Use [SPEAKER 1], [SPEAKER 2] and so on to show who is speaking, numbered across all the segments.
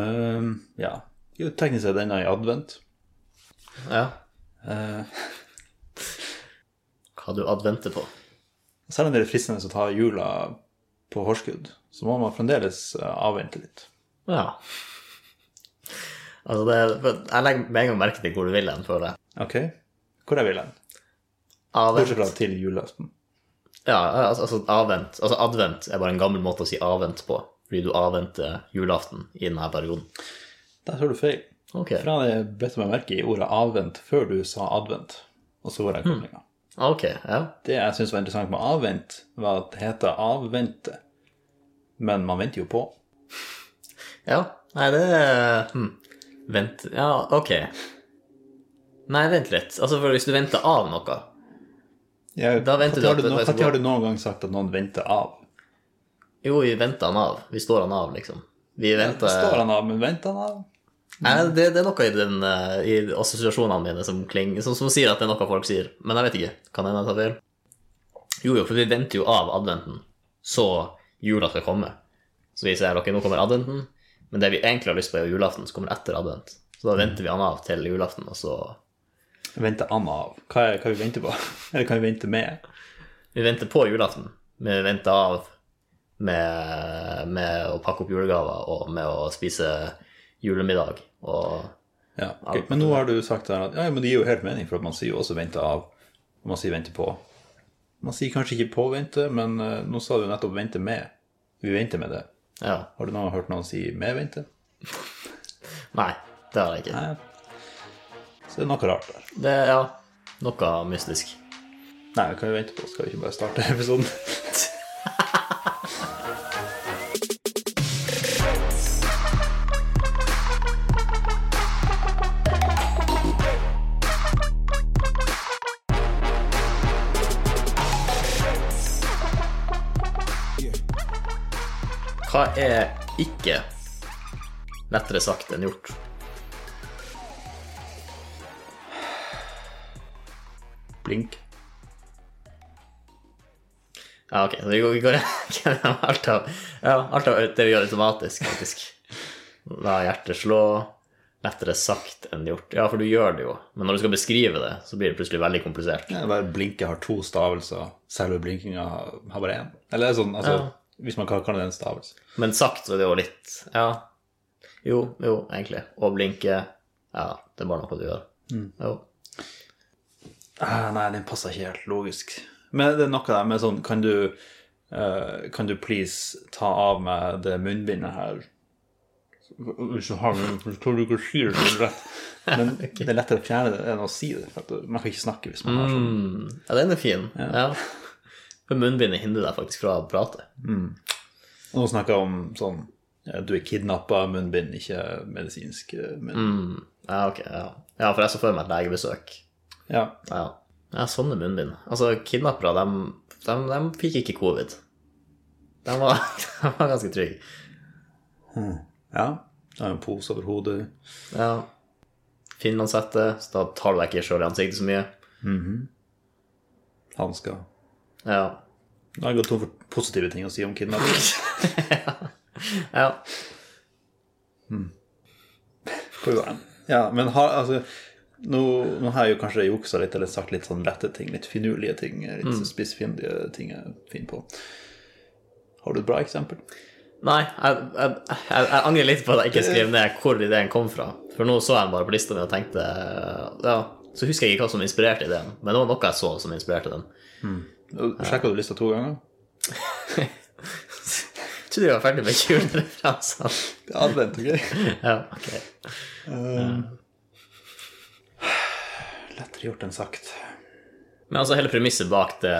[SPEAKER 1] Ehm, ja. Jo, teknisk sett ennå i advent.
[SPEAKER 2] Ja.
[SPEAKER 1] Eh,
[SPEAKER 2] Hva du adventer på.
[SPEAKER 1] selv om det er fristende å ta jula på forskudd, så må man fremdeles eh, avvente litt.
[SPEAKER 2] Ja. Altså, det er, for jeg legger med en gang merke til hvor du vil hen, føler jeg.
[SPEAKER 1] OK? Hvor jeg vil hen?
[SPEAKER 2] Avvent.
[SPEAKER 1] Bortsett fra til julaften.
[SPEAKER 2] Ja, altså, altså avvent. Altså advent er bare en gammel måte å si avvent på, fordi du avventer julaften i denne perioden.
[SPEAKER 1] Der tar du feil.
[SPEAKER 2] Ok,
[SPEAKER 1] For jeg hadde bedt meg merke i ordet avvent før du sa advent, og så var jeg koblinga.
[SPEAKER 2] ok, ja.
[SPEAKER 1] Det jeg syns var interessant med avvent, var at det heter avvente. Men man venter jo på.
[SPEAKER 2] Ja, nei, det er- hm. Vent, ja, ok. Nei, vent litt. Altså, for hvis du venter av noe,
[SPEAKER 1] Jeg,
[SPEAKER 2] Da venter du
[SPEAKER 1] Når
[SPEAKER 2] at det
[SPEAKER 1] no-
[SPEAKER 2] faktisk
[SPEAKER 1] når har du noen gang sagt at noen venter av?
[SPEAKER 2] jo, vi venter han av. Vi står han av, liksom. Vi venter...
[SPEAKER 1] Står han av, men venter han av?
[SPEAKER 2] Nei, det, det er noe i, den, eh, i assosiasjonene mine som, klinger, som, som sier at det er noe folk sier. Men jeg vet ikke. Kan hende jeg tar feil. Jo, jo, for vi venter jo av adventen, så jula skal komme. Så vi sier ok, nå kommer adventen, men det vi egentlig har lyst på, er jo julaften, som kommer etter advent. Så da venter vi han av til julaften, og så
[SPEAKER 1] Venter han av? Hva er hva vi venter på? Eller kan vi vente med?
[SPEAKER 2] Vi venter på julaften, men vi venter av med, med å pakke opp julegaver og med å spise julemiddag og
[SPEAKER 1] Ja, ok. Men nå har du sagt her at ja, men det gir jo helt mening, for at man sier jo også vente av, og man sier vente på. Man sier kanskje ikke påvente, men eh, nå sa du nettopp vente med. Vi venter med det.
[SPEAKER 2] Ja.
[SPEAKER 1] Har du noen hørt noen si medvente?
[SPEAKER 2] Nei, det har jeg ikke.
[SPEAKER 1] Nei. Så det er noe rart der.
[SPEAKER 2] Det er ja, noe mystisk.
[SPEAKER 1] Nei, vi kan jo vente på, skal vi ikke bare starte episoden?
[SPEAKER 2] Hva er ikke lettere sagt enn gjort?
[SPEAKER 1] Blink.
[SPEAKER 2] Ja, ok, så vi går, vi går gjennom alt av, ja, alt av det vi gjør automatisk, faktisk. La hjertet slå, lettere sagt enn gjort. Ja, for du gjør det jo, men når du skal beskrive det, så blir det plutselig veldig komplisert.
[SPEAKER 1] Ja, bare blinke har to stavelser, selve blinkinga har bare én. Eller sånn, altså,
[SPEAKER 2] Ja.
[SPEAKER 1] hvis man kan kalle det en stavelse.
[SPEAKER 2] Men sagt så er det jo litt, ja. Jo, jo, egentlig. Å blinke, ja, det er bare noe du gjør. Jo.
[SPEAKER 1] Ah, nei, den passer ikke helt logisk. Men det er noe der med sånn, kan du, eh, kan du please ta av meg det munnbindet her? Hvis du har det, så tror du ikke sier det rett. Men det er lettere å fjerne det enn å si det. For at man kan ikke snakke hvis man har sånn.
[SPEAKER 2] Mm, ja, den er fin. Ja. For munnbindet hindrer deg faktisk fra å prate.
[SPEAKER 1] Mm. Og nå snakker jeg om sånn ja, du er kidnappa, munnbind, ikke medisinsk eh, munn.
[SPEAKER 2] Mm. Ja, ok. Ja. ja, for jeg så for meg et legebesøk.
[SPEAKER 1] Ja.
[SPEAKER 2] Ja, ja sånne munnbind. Altså, kidnappere, de, de, de fikk ikke covid. De var, de var ganske trygge.
[SPEAKER 1] Mm. ja. Du har en pose over hodet.
[SPEAKER 2] Ja. Finlandshette, så da tar du deg ikke sjøl i ansiktet så mye.
[SPEAKER 1] Mm-hmm. Hansker.
[SPEAKER 2] Ja.
[SPEAKER 1] Nå har jeg gått tom for positive ting å si om kidnapping.
[SPEAKER 2] ja.
[SPEAKER 1] Hvor går den? Ja, men har, altså, nå, nå har jeg jo kanskje juksa litt eller sagt litt sånn lette ting, litt finurlige ting, litt spissfindige ting jeg er fin på. Har du et bra eksempel?
[SPEAKER 2] Nei, jeg, jeg, jeg, jeg angrer litt på at jeg ikke skrev ned hvor ideen kom fra. For nå så jeg den bare på lista mi og tenkte Ja, så husker jeg ikke hva som inspirerte ideen, men det var noe jeg så som inspirerte den.
[SPEAKER 1] Sjekka du lista to ganger?
[SPEAKER 2] Jeg trodde vi var ferdig med julereferansene.
[SPEAKER 1] Det er Advent, ok?
[SPEAKER 2] Ja, ok.
[SPEAKER 1] Lettere gjort enn sagt.
[SPEAKER 2] Men altså hele premisset bak det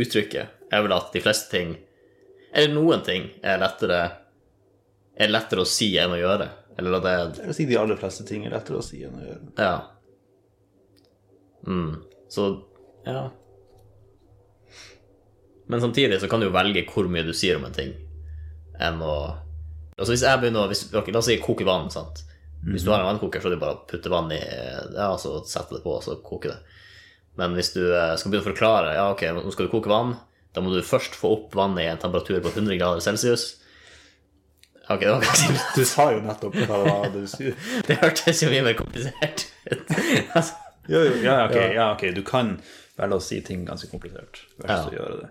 [SPEAKER 2] uttrykket er vel at de fleste ting, eller noen ting, er lettere, er lettere å si enn å gjøre. Eller at det er
[SPEAKER 1] Jeg vil si de aller fleste ting er lettere å si enn å gjøre.
[SPEAKER 2] Ja. Mm. Så Ja. Men samtidig så kan du jo velge hvor mye du sier om en ting, enn å Altså hvis jeg begynner å hvis, ok, La oss si koke vann, sant. Hvis du har en vannkoker, så er det bare å putte vann i Ja, så sette det på, og så koke det. Men hvis du eh, skal begynne å forklare Ja, ok, nå skal du koke vann. Da må du først få opp vannet i en temperatur på 100 grader celsius. Ok, det var kanskje
[SPEAKER 1] Du sa jo nettopp hva det var du skulle
[SPEAKER 2] Det hørtes jo mye mer komplisert ut. altså,
[SPEAKER 1] Jo, jo, ja, ok, ja, ok. Du kan velge å si ting ganske komplisert. Vær så
[SPEAKER 2] Ja.
[SPEAKER 1] gjøre det.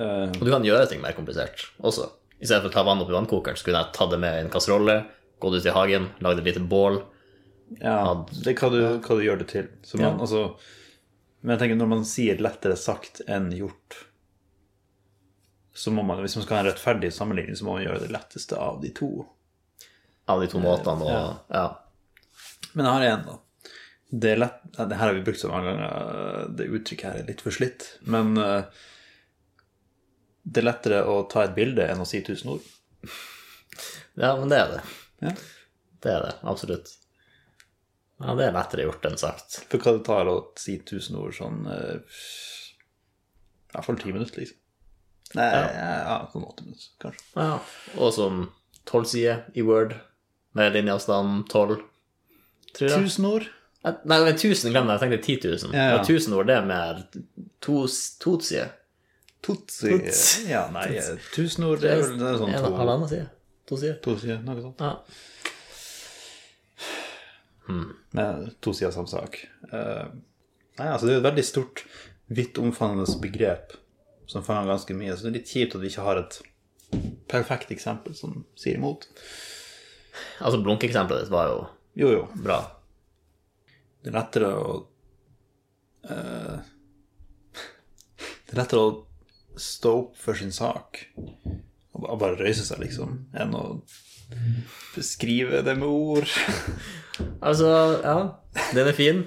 [SPEAKER 1] Eh,
[SPEAKER 2] og du kan gjøre ting mer komplisert også. I stedet for å ta vann opp i vannkokeren, så kunne jeg tatt det med i en kasserolle, gått ut i hagen, lagd et lite bål.
[SPEAKER 1] ja, det er hva du, hva du gjør det til. Så man, altså, men jeg tenker når man sier lettere sagt enn gjort, så må man, hvis man skal ha en rettferdig sammenligning, så må man gjøre det letteste av de to.
[SPEAKER 2] Av de to måtene og Ja.
[SPEAKER 1] Men jeg har en, da. Det er lett ja, Det her har vi brukt så mange ganger. Det uttrykket her er litt for slitt. Men eh, det er lettere å ta et bilde enn å si tusen ord.
[SPEAKER 2] ja, men det er det.
[SPEAKER 1] Ja.
[SPEAKER 2] Det er det, absolutt. Ja, det er lettere gjort enn sagt.
[SPEAKER 1] For hva det tar å si tusen ord sånn eh, I hvert fall ti minutter, liksom. Nei, ja. sånn åtte minutter, kanskje.
[SPEAKER 2] Ja. Og som tolv sider i Word, med linjeavstand tolv, tror jeg.
[SPEAKER 1] Tusen ord?
[SPEAKER 2] Nei, men 1000 glemmer jeg. Jeg tenkte 10 000.
[SPEAKER 1] Ja, ja.
[SPEAKER 2] Men 1000 ord, det er mer to, to sider.
[SPEAKER 1] Tutsi.
[SPEAKER 2] Tuts.
[SPEAKER 1] Ja, nei, eh, tusen ord det er vel det er sånn
[SPEAKER 2] En
[SPEAKER 1] to,
[SPEAKER 2] halvannen side. To sider.
[SPEAKER 1] to sider, noe sånt.
[SPEAKER 2] Ja.
[SPEAKER 1] Med to sider samme sak. Eh, nei, altså det er et veldig stort, vidt omfavnende begrep som fanger ganske mye. Så det er litt kjipt at vi ikke har et perfekt eksempel som sier imot.
[SPEAKER 2] Altså, blunkeeksempelet ditt var jo
[SPEAKER 1] Jo, jo.
[SPEAKER 2] bra.
[SPEAKER 1] Det er lettere å eh, Det er lettere å stå opp for sin sak og ba- bare røyse seg, liksom, enn å beskrive det med ord.
[SPEAKER 2] Altså, ja. Den er fin,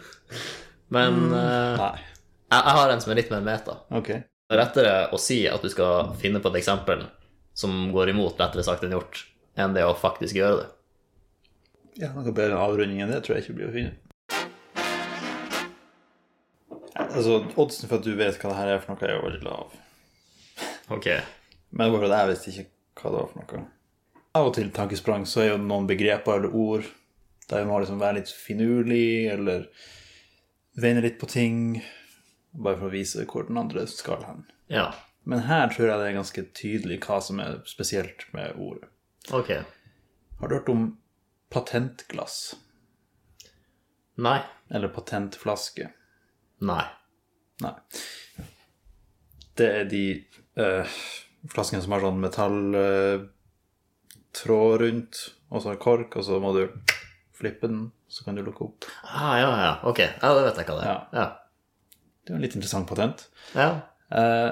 [SPEAKER 2] men eh,
[SPEAKER 1] Nei.
[SPEAKER 2] jeg, jeg har en som er litt mer meta.
[SPEAKER 1] Ok.
[SPEAKER 2] Det er lettere å si at du skal finne på et eksempel som går imot lettere sagt enn gjort, enn det å faktisk gjøre det.
[SPEAKER 1] Ja, noe bedre avrunding enn det tror jeg ikke blir å finne. Nei, Altså, Oddsen for at du vet hva det her er for noe, er jo veldig lav.
[SPEAKER 2] Ok.
[SPEAKER 1] Men bare det, jeg visste ikke hva det var for noe. Av og til tankesprang så er jo noen begreper eller ord der vi må liksom være litt finurlig, eller vende litt på ting, bare for å vise hvor den andre skal hen.
[SPEAKER 2] Ja.
[SPEAKER 1] Men her tror jeg det er ganske tydelig hva som er spesielt med ordet.
[SPEAKER 2] Ok.
[SPEAKER 1] Har du hørt om patentglass?
[SPEAKER 2] Nei.
[SPEAKER 1] Eller patentflaske?
[SPEAKER 2] Nei.
[SPEAKER 1] Nei. Det er de eh, flaskene som har sånn metalltråd rundt, og så en kork, og så må du flippe den, så kan du lukke opp.
[SPEAKER 2] Ah, ja, ja. Ok. Ja, da vet jeg hva det er. Ja.
[SPEAKER 1] Det er jo en litt interessant patent.
[SPEAKER 2] ja.
[SPEAKER 1] Eh,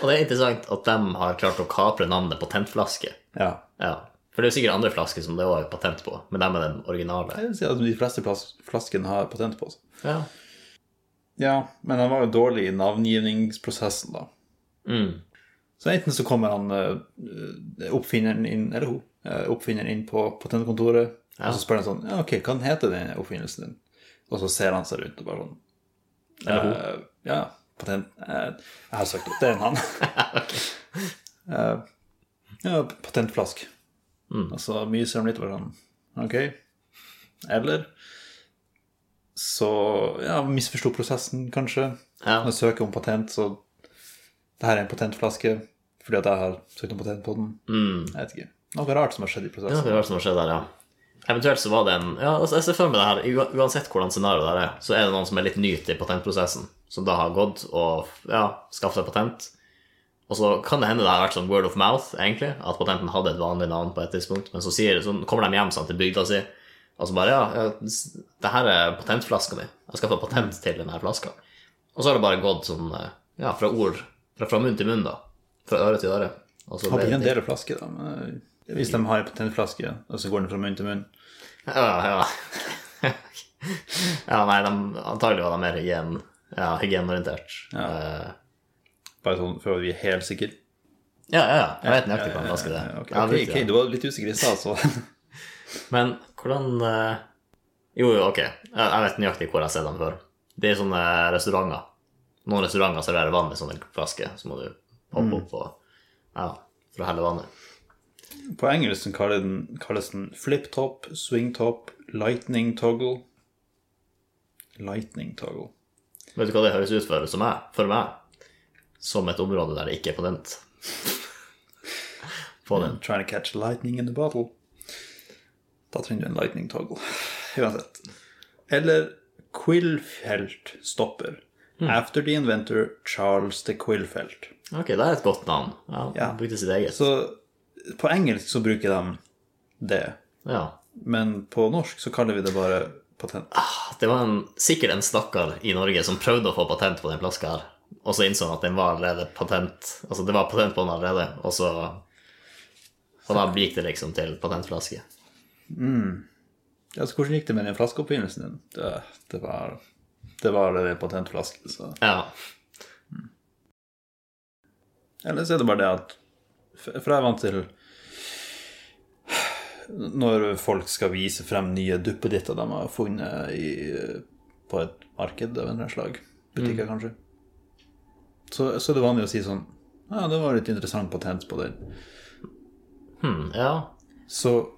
[SPEAKER 2] Og det er interessant at de har klart å kapre navnet patentflaske.
[SPEAKER 1] ja.
[SPEAKER 2] Ja. For det er jo sikkert andre flasker som det også er patent på, men de er den originale.
[SPEAKER 1] Jeg vil si at de fleste plas- flaskene har patent på seg.
[SPEAKER 2] Ja.
[SPEAKER 1] Ja, men han var jo dårlig i navngivningsprosessen, da.
[SPEAKER 2] Mm.
[SPEAKER 1] Så enten så kommer han eh, oppfinneren inn, eller hun, eh, oppfinneren inn på patentkontoret,
[SPEAKER 2] Ja.
[SPEAKER 1] og så spør han sånn Ja, ok, hva heter den oppfinnelsen din? Og så ser han seg rundt og bare sånn
[SPEAKER 2] Eller hun.
[SPEAKER 1] eh, Ja, patent eh, Jeg har søkt opp, det er en han. Eh, ja, patentflask.
[SPEAKER 2] Mm.
[SPEAKER 1] Og så myser de litt og bare sånn Ok. Eller så ja, misforsto prosessen, kanskje.
[SPEAKER 2] Ja.
[SPEAKER 1] Når jeg søker om patent, så Det her er en patentflaske fordi at jeg har søkt om patent på den.
[SPEAKER 2] Mm.
[SPEAKER 1] Jeg vet ikke. Noe rart som har skjedd i
[SPEAKER 2] Det er
[SPEAKER 1] prosessen.
[SPEAKER 2] noe rart som har skjedd der, ja. Eventuelt så var det en Ja, altså jeg ser for meg det her, ua- uansett hvordan scenarioet der er, så er det noen som er litt nyt i patentprosessen, som da har gått og ja, skaffet seg patent. Og så kan det hende det har vært sånn word of mouth, egentlig, at patenten hadde et vanlig navn på et tidspunkt, men så, sier, så kommer de hjem sånn, til bygda si, og så bare Ja, ja, s- det her er patentflaska mi. Jeg har skaffa patent til denne flaska. Og så har det bare gått sånn, eh, ja, fra ord Fra, fra munn til munn, da. Fra øre til øre. Og
[SPEAKER 1] Det
[SPEAKER 2] så ble
[SPEAKER 1] blir
[SPEAKER 2] det
[SPEAKER 1] en del av flaske, da. Men eh, hvis de har en patentflaske, og så går den fra munn til munn
[SPEAKER 2] Ja, ja. ja nei, de, antagelig var de mer hygien, ja, hygienorientert. Ja.
[SPEAKER 1] Bare sånn for at vi er helt sikre.
[SPEAKER 2] ja, ja, ja. Jeg vet nøyaktig hva en flaske det er.
[SPEAKER 1] Eh, ok,
[SPEAKER 2] Jeg har
[SPEAKER 1] ok,
[SPEAKER 2] brukt det.
[SPEAKER 1] ok, du var litt usikker i stad, så
[SPEAKER 2] Men hvordan eh, Jo, jo, ok. Jeg- Jeg vet nøyaktig hvor jeg har sett dem før. Det er sånne restauranter. Noen restauranter serverer vann i sånne flasker, så må du
[SPEAKER 1] Mm.
[SPEAKER 2] hoppe opp og Ja, for å helle vannet.
[SPEAKER 1] På engelsk kalles den, kalles den flip top, swing top, lightning toggle. Lightning toggle.
[SPEAKER 2] Vet du hva det høres ut for, som jeg, for meg? Som et område der det ikke er patent. på den.
[SPEAKER 1] Trying to catch lightning in the bottle. Da trenger du en lightning toggle. Uansett. Eller Quillfelt stopper.
[SPEAKER 2] Hmm.
[SPEAKER 1] After the inventor Charles de Quillfelt.
[SPEAKER 2] Ok, det er et godt navn. Ja,
[SPEAKER 1] Ja.
[SPEAKER 2] Han brukte sitt eget.
[SPEAKER 1] Så på engelsk så bruker de det,
[SPEAKER 2] Ja.
[SPEAKER 1] men på norsk så kaller vi det bare patent.
[SPEAKER 2] Det var en, sikkert en stakkar i Norge som prøvde å få patent på den flaska her, og så innså han at den var allerede patent, altså det var patent på den allerede, og så Og da gikk det liksom til patentflaske.
[SPEAKER 1] Ja, så Altså, hvordan gikk det med den flaskeoppfinnelsen din? Det, det var det var en patentflaske, så
[SPEAKER 2] Ja.
[SPEAKER 1] Eller så er det bare det at For for jeg er vant til Når folk skal vise frem nye duppeditter de har funnet i, på et marked av en eller annen slag, butikker kanskje, så, så er det vanlig å si sånn Ja, det var litt interessant patent på den.
[SPEAKER 2] Hm, ja.
[SPEAKER 1] Så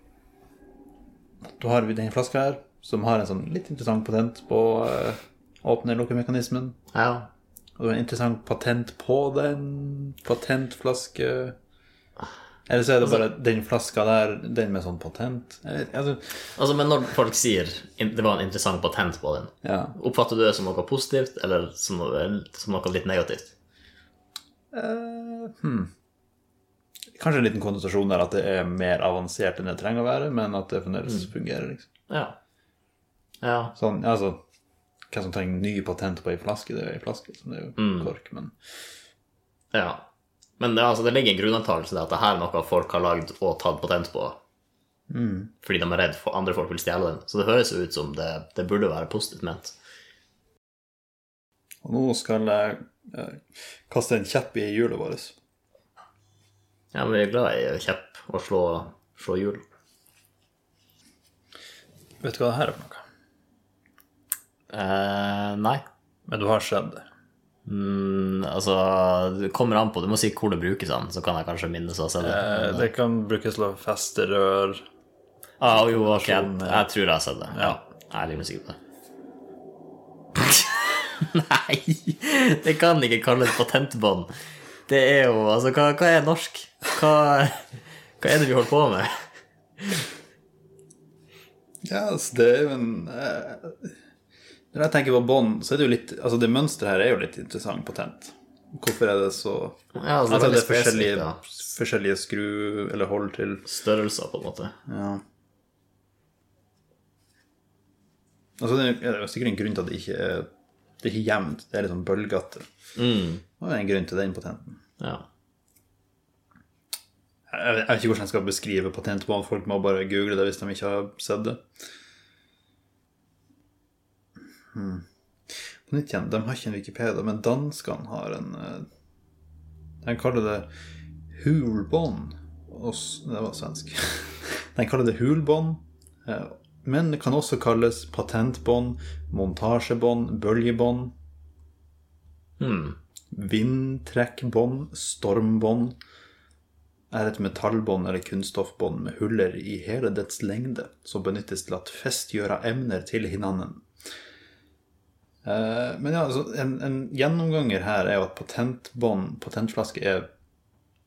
[SPEAKER 1] da har vi den flaska her, som har en sånn litt interessant patent på eh, åpne- og lukkemekanismen.
[SPEAKER 2] Ja.
[SPEAKER 1] Og det var en interessant patent på den. Patentflaske. Eller så er det bare den flaska der, den med sånn patent. Jeg vet, altså,
[SPEAKER 2] Altså, men når folk sier in- det var en interessant patent på den,
[SPEAKER 1] ja.
[SPEAKER 2] oppfatter du det som noe positivt, eller som noe, som noe litt negativt?
[SPEAKER 1] Eh, hmm. Kanskje en liten konnotasjon der at det er mer avansert enn det trenger å være, men at det fremdeles fungerer. liksom.
[SPEAKER 2] Ja. Ja.
[SPEAKER 1] Sånn, ja, altså Hvem som trenger ny patent på ei flaske? Det er jo ei flaske, liksom. det er jo kork, men
[SPEAKER 2] ja. Men det, er altså, det ligger en grunnantagelse der at det her er noe folk har lagd og tatt patent på fordi de er redd for andre folk vil stjele den. Så det høres jo ut som det, det burde være positivt ment.
[SPEAKER 1] Og nå skal jeg eh, kaste en kjepp i hjulet vårt.
[SPEAKER 2] Ja, men vi er glad i kjepp og slå, slå hjul.
[SPEAKER 1] Vet du hva det her er for noe?
[SPEAKER 2] Eh, nei.
[SPEAKER 1] Men du har sett det.
[SPEAKER 2] Mm, altså, det kommer an på. Du må si hvor det brukes an, så kan jeg kanskje minnes å ha sett det.
[SPEAKER 1] Eh, det kan brukes til å feste rør.
[SPEAKER 2] Ah, jo, ok, jeg, jeg tror jeg har sett det. Ja. Jeg er litt sikker på det. Nei! Det kan ikke kalles patentbånd. Det er jo Altså, hva, hva er norsk? Hva, hva er det vi holder på med?
[SPEAKER 1] Ja, altså, det er jo en eh, Når jeg tenker på bånd, så er det jo litt Altså, det mønsteret her er jo litt interessant patent. Hvorfor er det så
[SPEAKER 2] Ja, altså,
[SPEAKER 1] Jeg tror det er
[SPEAKER 2] veldig
[SPEAKER 1] forskjellige,
[SPEAKER 2] spesifikt, da.
[SPEAKER 1] forskjellige skru eller hold til
[SPEAKER 2] Størrelser, på en måte.
[SPEAKER 1] Ja. Altså, det er jo sikkert en grunn til at det ikke er, det er ikke jevnt. Det er litt sånn bølgete.
[SPEAKER 2] Mm.
[SPEAKER 1] Og det er en grunn til den patenten.
[SPEAKER 2] Ja.
[SPEAKER 1] Jeg jeg vet ikke hvordan jeg skal beskrive patent på den. Folk må bare google det hvis de ikke har sett det. Hmm. På nytt igjen, de har ikke en Wikipedia, men danskene har en eh, De kaller det hulbånd. Og s- Det var svensk. De kaller det hulbånd, eh, men det kan også kalles patentbånd, montasjebånd, bøljebånd,
[SPEAKER 2] Mm.
[SPEAKER 1] vindtrekkbånd, stormbånd er et metallbånd eller kunststoffbånd med huller i hele dets lengde, som benyttes til at festgjøre emner til hinanden. Eh, Men ja, altså, en, en gjennomganger her er jo at patentbånd, patentflaske, er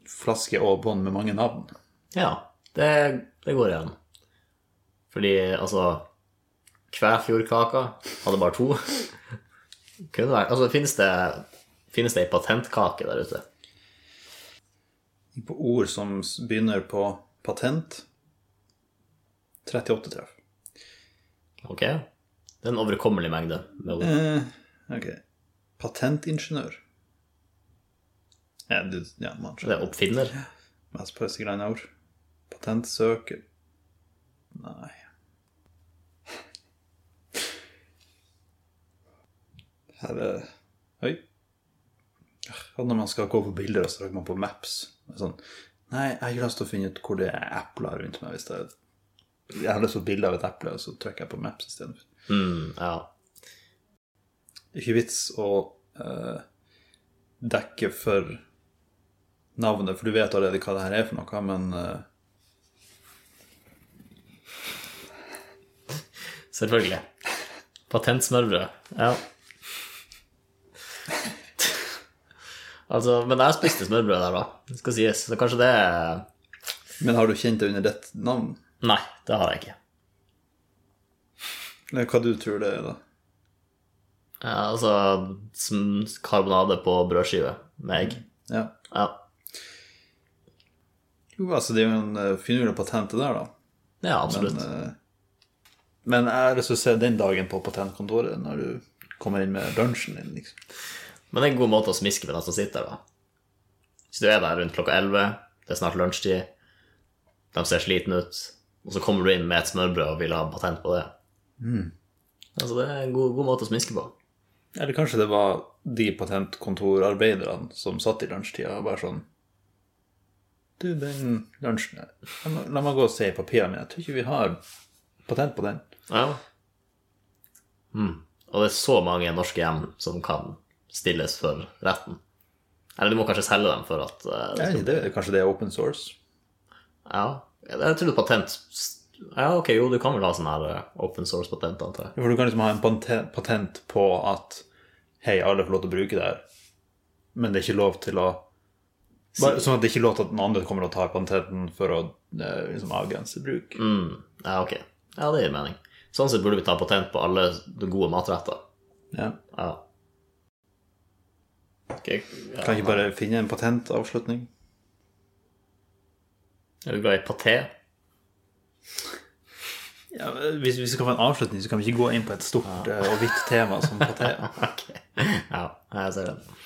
[SPEAKER 1] flaske og bånd med mange navn.
[SPEAKER 2] ja det, det går igjen. Fordi, altså Kvæfjordkaka hadde bare to. Kunne vært Altså, finnes det, finnes det ei patentkake der ute?
[SPEAKER 1] På ord som s- begynner på patent 38 treff.
[SPEAKER 2] Ok. Det er en overkommelig mengde med ord.
[SPEAKER 1] Eh, ok. Patentingeniør. Ja, du, ja, man skjønner.
[SPEAKER 2] Det er oppfinner.
[SPEAKER 1] Mest pussige greiene jeg har gjort. Patentsøker Nei Her er Oi. Og når man skal gå på bilder, og så trykker man på Maps. Det er Sånn, Nei, jeg har ikke lyst til å finne ut hvor det er epler rundt meg. Hvis det er... Jeg har lyst på et bilde av et eple, og så trykker jeg på Maps istedenfor.
[SPEAKER 2] Mm, ja.
[SPEAKER 1] Det er ikke vits å eh, dekke for navnet, for du vet allerede hva det her er for noe, men eh,
[SPEAKER 2] Selvfølgelig. Patentsmørbrød. Ja. altså, men jeg spiste smørbrød der, da. Det skal sies. Så kanskje det er
[SPEAKER 1] Men har du kjent det under ditt navn?
[SPEAKER 2] Nei, det har jeg ikke.
[SPEAKER 1] Eller Hva du tror det er, da?
[SPEAKER 2] Ja, altså som karbonade på brødskive med egg.
[SPEAKER 1] Ja.
[SPEAKER 2] Ja.
[SPEAKER 1] Jo, altså, det er jo en eh, finurlig patent, det der, da.
[SPEAKER 2] ja,
[SPEAKER 1] Men,
[SPEAKER 2] absolutt.
[SPEAKER 1] eh, men jeg har lyst til å se den dagen på patentkontoret, når du kommer inn med lunsjen din, liksom.
[SPEAKER 2] Men det er en god måte å smiske med den som sitter der, da. Hvis du er der rundt klokka 11, det er snart lunsjtid, de ser slitne ut, og så kommer du inn med et smørbrød og vil ha patent på det. Altså, det er en god, god måte å smiske på.
[SPEAKER 1] Eller kanskje det var de patentkontorarbeiderne som satt i lunsjtida og bare sånn Du, den lunsjen her, la meg- La meg gå og se i papirene mine. Jeg tror ikke vi har patent på den.
[SPEAKER 2] Ja. Mm. Og det er så mange norske hjem som kan stilles for retten. Eller du må kanskje selge dem for at eh, det
[SPEAKER 1] Nei,
[SPEAKER 2] skal...
[SPEAKER 1] det, kanskje det er open source?
[SPEAKER 2] Ja. Jeg tror patent Ja, ok, jo, du kan vel ha sånn her eh, open source-patent, antar jeg.
[SPEAKER 1] For du kan liksom ha en pante- patent på at Hei, alle får lov til å bruke det her, men det er ikke lov til å bare, Sånn at det ikke er lov til at den andre kommer og tar patenten for å eh, liksom, avgrense bruk.
[SPEAKER 2] Mm, Ja, ok. Ja, det gir mening. Sånn sett burde vi ta patent på alle gode matretter.
[SPEAKER 1] Ja.
[SPEAKER 2] Ja. Ok, ja.
[SPEAKER 1] Kan ikke bare finne en patentavslutning?
[SPEAKER 2] Er du glad i paté?
[SPEAKER 1] Ja, hvis vi skal få en avslutning, så kan vi ikke gå inn på et stort eh, og vidt tema som paté.
[SPEAKER 2] Ok. Ja, jeg ser den.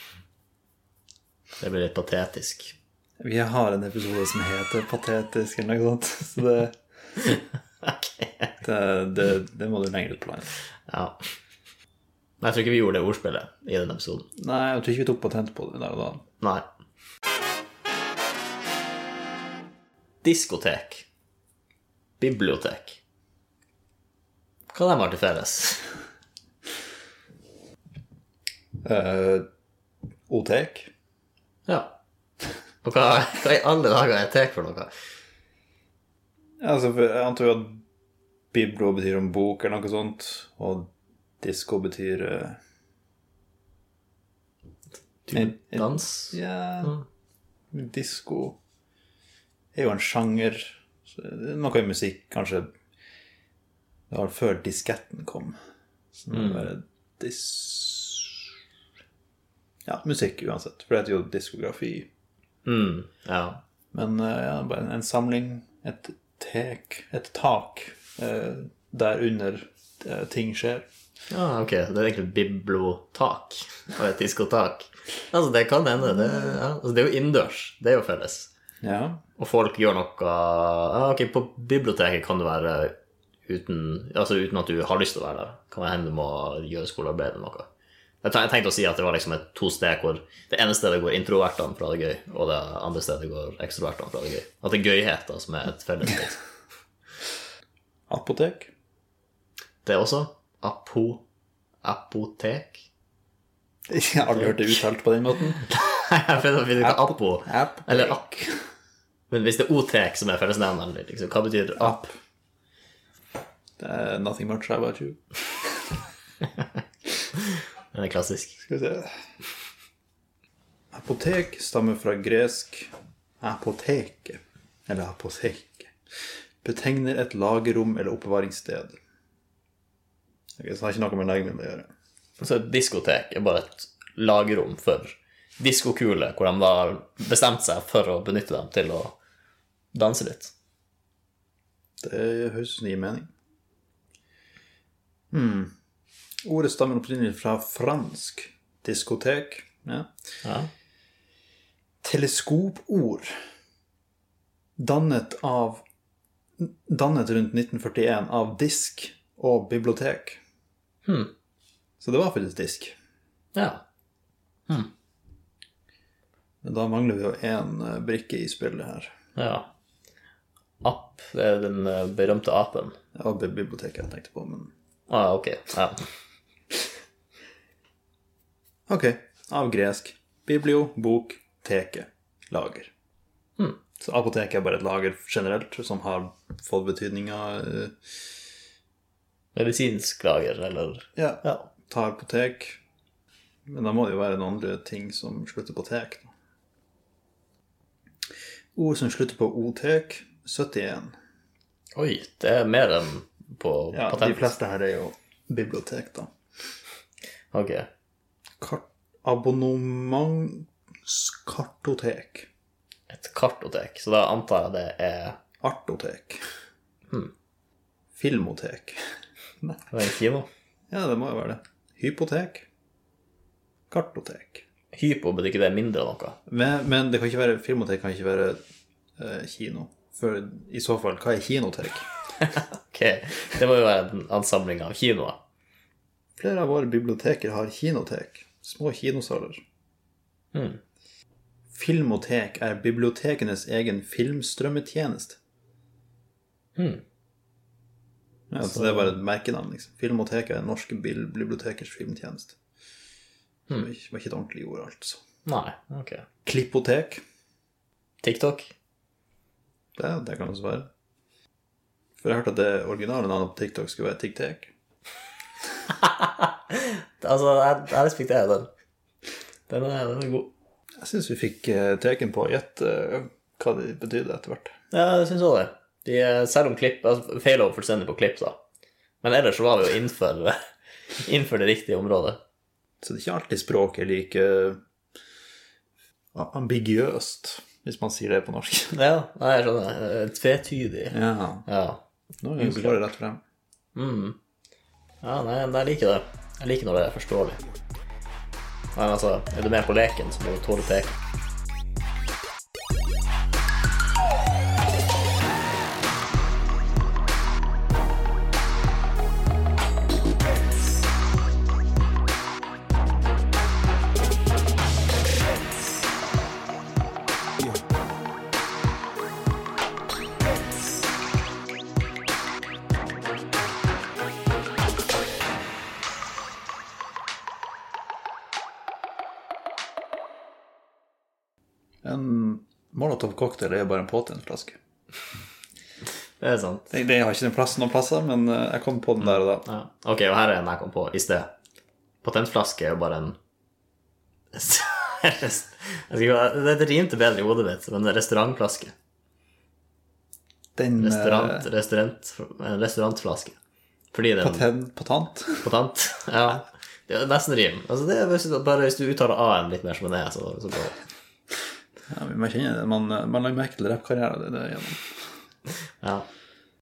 [SPEAKER 2] Det blir litt patetisk.
[SPEAKER 1] Vi har en episode som heter 'Patetisk' eller noe sånt, så det,
[SPEAKER 2] Ok.
[SPEAKER 1] det, det, det må du lenger ut på landet.
[SPEAKER 2] Ja. Men jeg tror ikke vi gjorde det ordspillet i den episoden.
[SPEAKER 1] Nei, jeg tror ikke vi tok patent på det der og da.
[SPEAKER 2] Nei. Diskotek. Bibliotek. Hva de har til felles?
[SPEAKER 1] Eh, Otek?
[SPEAKER 2] Ja. Og hva, hva i alle dager er tek for noe?
[SPEAKER 1] Altså, for jeg antar jo at biblo betyr om bok eller noe sånt, og disko betyr eh, en- en-
[SPEAKER 2] Dans?
[SPEAKER 1] Ja, disko er jo en sjanger. så det er Noe i musikk, kanskje. Det var før disketten kom. Så det er bare dis... Ja, musikk uansett. For det heter jo diskografi.
[SPEAKER 2] Mm, ja.
[SPEAKER 1] Men eh, ja, bare en, en samling, et tek, et tak, eh, der under eh, ting skjer.
[SPEAKER 2] Ja, ok, så det er egentlig et biblotak og et diskotak. Altså, det kan hende. Det, ja. altså, det er jo innendørs. Det er jo felles.
[SPEAKER 1] Ja.
[SPEAKER 2] Og folk gjør noe ja, Ok, på biblioteket kan du være uten, altså, uten at du har lyst til å være der. Kan hende du må gjøre skolearbeid eller noe. Jeg ten- jeg tenkte å si at det var liksom et to sted hvor det ene stedet går introvertene fra det gøy, og det andre stedet går ekstrovertene fra det gøy. At det er gøyheter som er et fellesskap.
[SPEAKER 1] Apotek.
[SPEAKER 2] Det er også apo... apotek?
[SPEAKER 1] Jeg har aldri hørt det uttalt på den måten.
[SPEAKER 2] Jeg prøvde å finne ut hva apo
[SPEAKER 1] App.
[SPEAKER 2] Eller app. Men hvis det er otek som er fellesnevneren, liksom, hva betyr app?
[SPEAKER 1] Eh, nothing much about you.
[SPEAKER 2] Den er klassisk.
[SPEAKER 1] Skal vi se Apotek stammer fra gresk apoteket, eller apoteket. Betegner et lagerrom eller oppbevaringssted. Ok, så det har ikke noe med legemidler å gjøre.
[SPEAKER 2] Så et diskotek er bare et lagrom for diskokuler, hvor de da har bestemt seg for å benytte dem til å danse litt.
[SPEAKER 1] Det høres ut som det gir mening. Hmm. Ordet stammer opprinnelig fra fransk diskotek. Ja.
[SPEAKER 2] Ja.
[SPEAKER 1] teleskopord dannet av Dannet rundt 1941 av disk og bibliotek. Så det var faktisk disk.
[SPEAKER 2] ja.
[SPEAKER 1] Men da mangler vi jo én brikke i spillet her.
[SPEAKER 2] ja. App det er den eh, berømte apen.
[SPEAKER 1] Det var bi- biblioteket jeg tenkte på, men
[SPEAKER 2] Å ah, ja, ok. Ja.
[SPEAKER 1] OK. Av gresk. Biblio, bok, teke, lager. Så apoteket er bare et lager generelt som har fått betydninga eh,
[SPEAKER 2] Medisinsk lager, eller
[SPEAKER 1] ja,
[SPEAKER 2] Ja.
[SPEAKER 1] tar på tek. Men da må det jo være noen andre ting som slutter på tek. Da. Ord som slutter på otek, 71.
[SPEAKER 2] Oi, det er mer enn på
[SPEAKER 1] Ja, De
[SPEAKER 2] patent.
[SPEAKER 1] fleste her er jo bibliotek, da.
[SPEAKER 2] Ok.
[SPEAKER 1] Kart Abonnementskartotek.
[SPEAKER 2] Et kartotek. Så da antar jeg det er
[SPEAKER 1] Artotek. Filmotek.
[SPEAKER 2] det er en kino.
[SPEAKER 1] Ja, det må jo være det. Hypotek. Kartotek.
[SPEAKER 2] Hypo betyr ikke det er mindre noe.
[SPEAKER 1] Men, men det kan ikke være filmotek kan ikke være eh, kino. For i så fall, hva er kinotek?
[SPEAKER 2] Ok, Det må jo være en ansamling av kinoer.
[SPEAKER 1] Flere av våre biblioteker har kinotek. Små kinosaler.
[SPEAKER 2] Hmm.
[SPEAKER 1] Filmotek er bibliotekenes egen filmstrømmetjeneste.
[SPEAKER 2] Hmm.
[SPEAKER 1] Ja, så det er bare et merkenavn, liksom. Filmotek er norske bil- bibliotekers filmtjeneste. Det var ikke var ikke et ordentlig ord, altså.
[SPEAKER 2] Nei, ok.
[SPEAKER 1] Klippotek.
[SPEAKER 2] TikTok?
[SPEAKER 1] Det, det kan også være. For jeg hørte at det originale navnet på TikTok skulle være TikTek.
[SPEAKER 2] Altså, jeg, jeg respekterer den. Den er, den er god.
[SPEAKER 1] Jeg syns vi fikk eh, teken på å gjette eh, hva det betydde etter hvert.
[SPEAKER 2] Ja, jeg syns òg det. De, eh, selv om klipp altså, Feila jo fullstendig på klipp, da. Men ellers så var vi jo innenfor, innenfor det riktige området.
[SPEAKER 1] Så det er ikke alltid språket er like eh, ambiguøst, hvis man sier det på norsk.
[SPEAKER 2] Ja, nei, jeg skjønner. Eh, Tvetydig.
[SPEAKER 1] Ja.
[SPEAKER 2] Ja.
[SPEAKER 1] Nå er vi bare rett frem.
[SPEAKER 2] Mm. Ja, nei, nei, jeg liker det. Jeg liker når det er forståelig. Men altså, er du med på leken, så må du tåle tek.
[SPEAKER 1] En Molotov cocktail er bare en påtent-flaske.
[SPEAKER 2] Det er sant.
[SPEAKER 1] Det det har ikke den plassen noen plasser, men eh, jeg kom på den der og da.
[SPEAKER 2] Ja. Ok, og her er en jeg kom på i sted. Patentflaske er jo bare en Jeg skal ikke- Det det rimte bedre i hodet mitt, men restaurantflaske.
[SPEAKER 1] Den eh,
[SPEAKER 2] Restaurant, restaurant, en restaurantflaske. Fordi den
[SPEAKER 1] patent, patent.
[SPEAKER 2] Patent? Ja. Det er nesten rim. Altså, det er hvis du, bare hvis du uttaler A-en litt mer som en E, så, så går det.
[SPEAKER 1] Ja, men man kjenner det. Man, man lager merke til rappkarrieren det, det er gjennom.
[SPEAKER 2] Ja.